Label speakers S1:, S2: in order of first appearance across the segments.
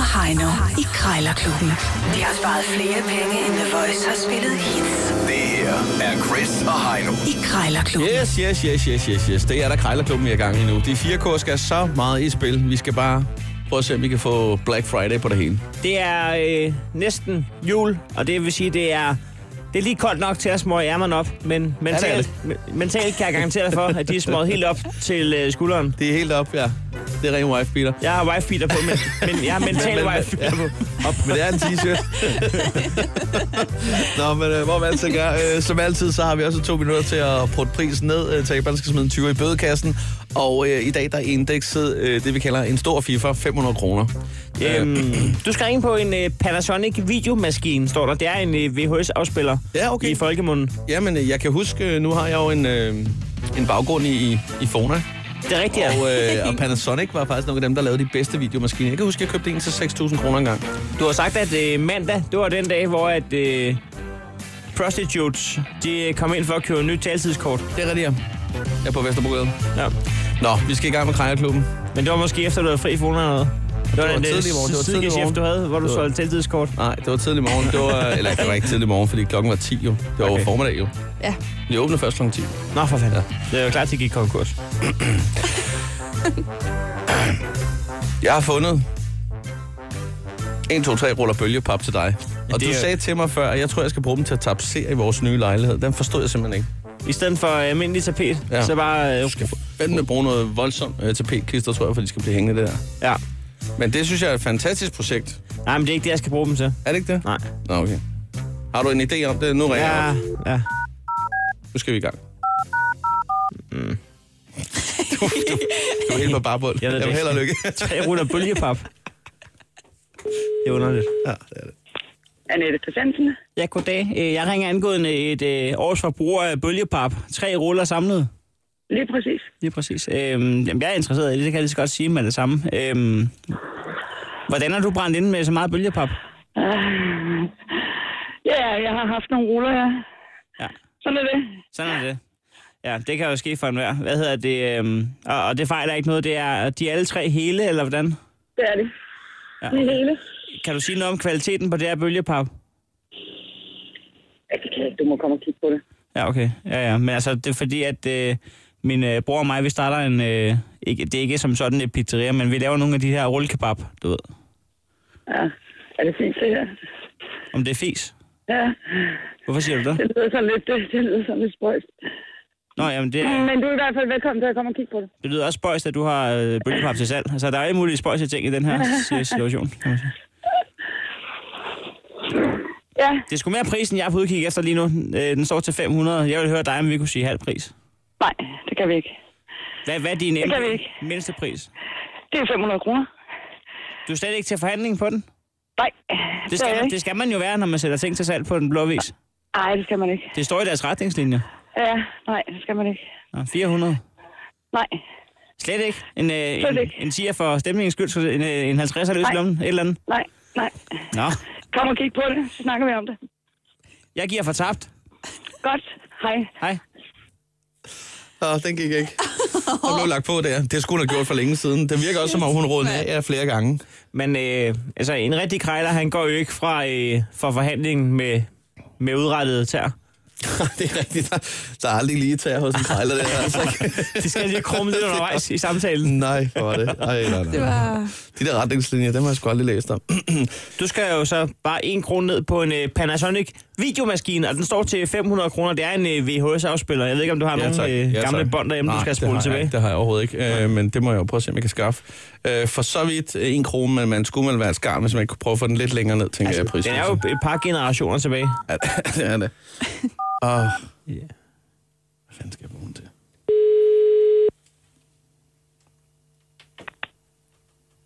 S1: Heino i Krejlerklubben. De har sparet flere penge, end The Voice har spillet hits
S2: Det her er Chris og Heino.
S1: i Krejlerklubben.
S3: Yes, yes, yes, yes, yes, yes. Det er der krejlerklubben, vi er i gang i nu. De 4K skal så meget i spil. Vi skal bare prøve at se, om vi kan få Black Friday på det hele.
S4: Det er øh, næsten jul, og det vil sige, det er... Det er lige koldt nok til at smøge ærmerne op, men mentalt, men- mentalt kan jeg garantere dig for, at de er smøget helt op til øh, skulderen.
S3: Det er helt op, ja. Det er ren wife beater.
S4: Jeg har wife-beater på, men, men jeg har mental
S3: Men- men-
S4: wife-beater på.
S3: Op, men det er en t-shirt. Nå, men øh, hvor man altid gør. Øh, som altid, så har vi også to minutter til at putte prisen ned. Øh, Taberen skal smide en 20 i bødekassen. Og øh, i dag, der er indekset øh, det, vi kalder en stor FIFA, 500 kroner. Øh,
S4: Øhm, du skal ringe på en øh, Panasonic videomaskine, står der. Det er en øh, VHS-afspiller
S3: Ja, okay.
S4: i folkemunden.
S3: Jamen, øh, jeg kan huske, øh, nu har jeg jo en, øh, en baggrund i, i, i Fona.
S4: Det er rigtigt, ja.
S3: Og, øh, og Panasonic var faktisk nogle af dem, der lavede de bedste videomaskiner. Jeg kan huske, jeg købte en til 6.000 kroner engang.
S4: Du har sagt, at øh, mandag, det var den dag, hvor at, øh, prostitutes de øh, kom ind for at købe nyt taltidskort.
S3: Det er rigtigt, ja. Jeg er på Vesterbogade.
S4: Ja.
S3: Nå, vi skal i gang med Krejerklubben.
S4: Men det var måske efter, du havde fri for eller noget. Det var,
S3: var
S4: den øh,
S3: tidlig morgen, det var tidlig
S4: sidegechef,
S3: morgen.
S4: du havde, hvor du
S3: Det var-
S4: solgte taltidskort.
S3: Nej, det var tidlig morgen. Det var, eller det var ikke tidlig morgen, fordi klokken var 10 jo. Det var okay.
S4: Okay.
S3: formiddag jo.
S5: Ja.
S3: Vi åbner først kl. 10.
S4: Nå, for fanden. Det er jo klart, at de gik konkurs.
S3: Jeg har fundet 1, 2, 3 ruller bølgepap til dig. Og
S4: det
S3: du
S4: er-
S3: sagde til mig før, at jeg tror, jeg skal bruge dem til at tapsere i vores nye lejlighed. Den forstod jeg simpelthen ikke.
S4: I stedet for øh, almindelig tapet,
S3: Ja.
S4: ja. så bare... Øh,
S3: Du skal fandme bruge noget voldsomt øh, tapetklister, tror jeg, for de skal blive hængende det der.
S4: ja.
S3: Men det synes jeg er et fantastisk projekt.
S4: Nej, men det er ikke det, jeg skal bruge dem til.
S3: Er det ikke det?
S4: Nej.
S3: Nå, okay. Har du en idé om det? Nu ringer
S4: Ja,
S3: jeg op.
S4: ja.
S3: Nu skal vi i gang. Mm. Du, du, du er helt på barbund.
S4: Jeg ved det
S3: vil
S4: ikke.
S3: hellere lykke.
S4: Tre ruller bølgepap. Det er underligt.
S6: Annette Christiansen.
S4: Ja, goddag. Øh, Jeg ringer angående et øh, års forbrug af bølgepap. Tre ruller samlet.
S6: Lige præcis.
S4: Lige præcis. Øhm, jamen, jeg er interesseret i det, det kan jeg lige så godt sige med det samme. Øhm, hvordan har du brændt ind med så meget bølgepap?
S6: Ah. Ja, jeg har haft nogle ruller, ja.
S4: Ja.
S6: Sådan er det.
S4: Sådan er det. Ja, det kan jo ske for enhver. Hvad hedder det? Øhm, og, og det fejler ikke noget. Det er, de er alle tre hele, eller hvordan?
S6: Det er det.
S4: Ja,
S6: Det
S4: okay.
S6: hele.
S4: Kan du sige noget om kvaliteten på det her bølgepap?
S6: Ja, det kan jeg ikke. Du må komme og kigge på det.
S4: Ja, okay. Ja, ja. Men altså, det er fordi, at øh, min øh, bror og mig, vi starter en... Øh, ikke, det er ikke som sådan et pizzeria, men vi laver nogle af de her rullekebab, du ved.
S6: Ja. Er det fint, det her?
S4: Om det er fis.
S6: Ja,
S4: Hvorfor siger du det?
S6: det lyder sådan lidt, det, det lyder sådan lidt spøjst.
S4: Nå, jamen det,
S6: Men du er i hvert fald velkommen til at komme og kigge på det.
S4: det lyder også spøjst, at du har øh, bølgepap til salg. Altså, der er alle mulige spøjse ting i den her si- situation, kan man sige.
S6: Ja,
S4: Det er sgu mere prisen, jeg er på udkig efter lige nu. Øh, Den står til 500. Jeg vil høre dig, om vi kunne sige halv pris.
S6: nej, det kan vi ikke.
S4: Hvad, hvad er din
S6: kan vi ikke.
S4: mindste pris?
S6: Det er 500 kroner.
S4: Du er slet ikke til forhandling på den?
S6: Nej,
S4: Det
S6: er
S4: skal,
S6: jeg
S4: man,
S6: ikke.
S4: det skal man jo være, når man sætter ting til salg på den blå vis.
S6: Nej, det skal man ikke.
S4: Det står i deres retningslinjer.
S6: Ja, nej, det skal man ikke.
S4: Nå, 400.
S6: Nej,
S4: Slet ikke. En, øh,
S6: Slet
S4: en,
S6: ikke.
S4: en 10'er for stemningens skyld, så en, øh, en 50'er løs i lommen, et eller andet.
S6: nej, nej.
S4: Nå,
S6: Kom og kig på det, så snakker vi om det.
S4: jeg giver for tabt.
S6: Godt, hej.
S4: Hej.
S3: Nå, den gik ikke. Der blev lagt på der. Det skulle hun have gjort for længe siden. Det virker også, som om hun rådede af jer flere gange.
S4: Men øh, altså, en rigtig krejler, han går jo ikke fra, øh, fra forhandlingen med, med udrettede tær.
S3: det er rigtigt. Der, der er aldrig lige tag hos en sejler der. Altså.
S4: Det skal lige krumme lidt undervejs i samtalen.
S3: Nej, hvor var det. Ej, nej, nej.
S5: Det var...
S3: De der retningslinjer, dem har jeg sgu aldrig læst om.
S4: Du skal jo så bare en krone ned på en øh, Panasonic videomaskine, og den står til 500 kroner. Det er en øh, VHS-afspiller. Jeg ved ikke, om du har ja, nogle øh, gamle bånd derhjemme, du skal
S3: det
S4: spole
S3: har Jeg,
S4: tilbage.
S3: ikke. det har jeg overhovedet ikke, øh, men det må jeg jo prøve at se, om jeg kan skaffe. Øh, for så vidt øh, en krone, men man skulle man være skarn, hvis man ikke kunne prøve at få den lidt længere ned, tænker altså, jeg
S4: Den
S3: prisen.
S4: er jo et par generationer tilbage.
S3: Ja, det er det. Og... Yeah. Hvad fanden skal jeg bruge den til?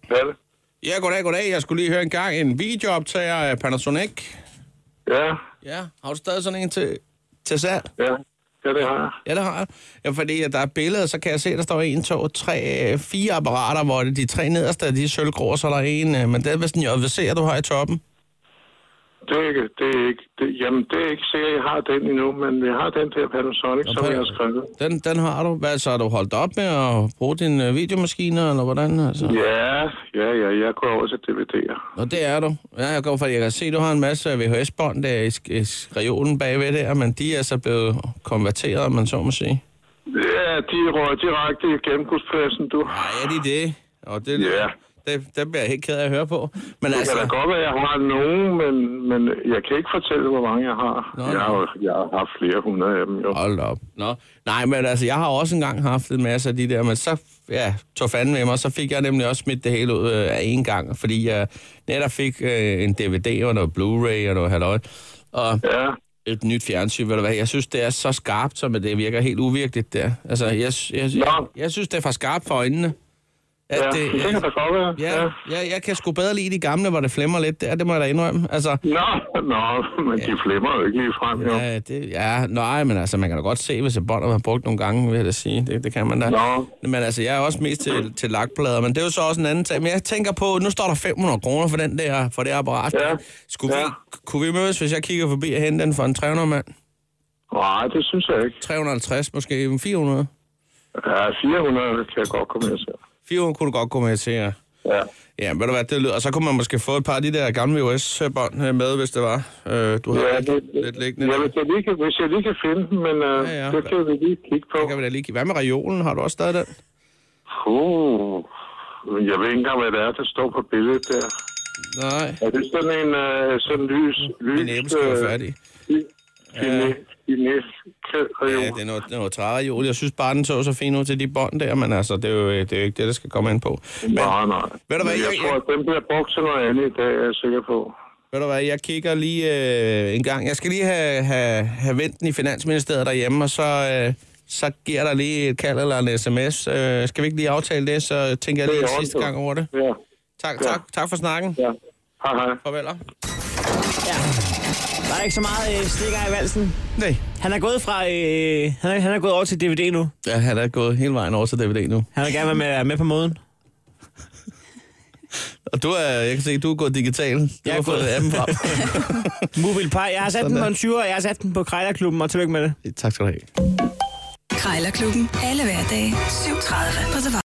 S7: Hvad er det?
S3: Ja, goddag, goddag. Jeg skulle lige høre en gang en videooptager af Panasonic.
S7: Ja,
S3: Ja, har du stadig sådan en til, til salg?
S7: ja, ja, det har jeg.
S3: Ja, det har jeg. Ja, fordi at der er billeder, så kan jeg se, at der står en, to, tre, øh, fire apparater, hvor det, de tre nederste de er sølvgrå, og så er der en, øh, men det er vist en JVC, du har i toppen.
S7: det er ikke, det er ikke, det, jamen, det er ikke sikkert, jeg har den endnu, men jeg har den der Panasonic,
S3: Og
S7: som
S3: prøv-
S7: jeg har skrevet.
S3: Den, den har du. Hvad, så har du holdt op med at bruge dine øh, videomaskiner, eller hvordan? Altså?
S7: Ja, ja, ja, jeg går over til DVD'er.
S3: Og det er du. Ja, jeg går for, jeg kan se, du har en masse VHS-bånd der i, sk- i sk- reolen bagved der, men de er så blevet konverteret, om man så må sige.
S7: Ja, de rører direkte i genbrugspladsen, du.
S3: Nej, er de det? Og det,
S7: Ja.
S3: det, det bliver jeg helt ked af at høre på. Men
S7: Det
S3: altså,
S7: kan da godt være, at jeg har nogen, men, men jeg kan ikke fortælle, hvor mange jeg har.
S3: Nå,
S7: jeg, har
S3: nå.
S7: jo- jeg har haft flere hundrede af dem, jo.
S3: hold da op. Nå. Nej, men altså, jeg har også engang haft en masse af de der, men så ja, tog fanden med mig, så fik jeg nemlig også smidt det hele ud øh, af en gang, fordi jeg netop fik øh, en DVD og noget Blu-ray og noget halløj. Og
S7: Ja,
S3: et nyt fjernsyn, eller hvad. Jeg synes, det er så skarpt, som at det virker helt uvirkeligt der. Altså, jeg, jeg, jeg,
S7: Nå.
S3: jeg synes, det er for skarpt for øjnene. At
S7: ja.
S3: det,
S7: det kan da godt være.
S3: ja,
S7: Ja.
S3: ja, jeg kan sgu bedre lide de gamle, hvor det flimmer lidt. Det, er- det må jeg da indrømme. Altså,
S7: Nå, nå, men de flimmer jo ikke lige frem, jo.
S3: ja, det, ja, nej, men altså, man kan da godt se, hvis et bånd har været brugt nogle gange, vil jeg da sige. Det, det kan man da.
S7: Nå.
S3: Men altså, jeg er også mest til, til lakplader, men det er jo så også en anden sag. Men jeg tænker på, nu står der 500 kroner for, den der, for det apparat.
S7: Ja.
S3: Skulle
S7: Ja.
S3: vi, kunne vi mødes, hvis jeg kigger forbi og henter den for en 300 mand?
S7: Nej, det synes jeg ikke.
S3: 350, måske 400?
S7: Ja, 400 kan jeg godt komme her til.
S3: 400 kunne du godt gå med til, ja.
S7: Ja.
S3: Ja, ved du hvad, det lyder. Og så kunne man måske få et par af de der gamle VHS-bånd øh, med, hvis det var. Øh, du har
S7: Ja,
S3: ja, lidt, lidt liggende.
S7: Ja,
S3: Ja,
S7: hvis, jeg lige kan, hvis jeg lige kan finde den, men uh,
S3: Ja,
S7: ja,
S3: ja.
S7: ja. det kan vi lige kigge på.
S3: kan vi da lige give. Hvad med reolen? Har du også stadig den?
S7: Uh, jeg ved ikke engang, hvad det er, der står på billedet der.
S3: Nej.
S7: Er det sådan en uh, sådan lys... lys øh,
S3: Min æble skal være færdig.
S7: Kinesisk
S3: Ja, det er noget, det er noget træreol. Jeg synes bare, den så så fin ud til de bånd der, men altså, det er jo, det er jo ikke det, der skal komme ind på. Men
S7: Nej, Ah, nej.
S3: Ved du hvad,
S7: Men jeg,
S3: jeg-
S7: tror, at den bliver brugt til noget andet i dag, er jeg sikker på.
S3: ved du hvad, jeg kigger lige øh, en gang. Jeg skal lige have, have, have vendt den i Finansministeriet derhjemme, og så, øh, så giver der lige et kald eller en sms. Øh, skal vi ikke lige aftale det, så tænker jeg
S7: Det
S3: lige
S7: er i orden,
S3: sidste
S7: du.
S3: gang over det.
S7: Ja,
S3: Tak, tak, tak for snakken.
S7: ja. Hej, hej.
S3: Farveler.
S4: Ja. Der er ikke så meget øh, stikker i valsen.
S3: Nej.
S4: Han er gået fra... Øh, han, er, han er gået over til DVD nu.
S3: Ja, han er gået hele vejen over til DVD nu.
S4: Han vil gerne være med, med på moden.
S3: Og du er, jeg kan se, du er gået digital. Du
S4: Jeg er
S3: har fået
S4: gået-
S3: appen frem.
S4: Mobil Pie. Jeg har sat
S3: Sådan
S4: den
S3: der.
S4: på en 20, og jeg har sat den på Krejlerklubben, og tillykke med det.
S3: tak skal du have.
S1: Krejlerklubben. Alle hverdage. 7.30 på The Voice.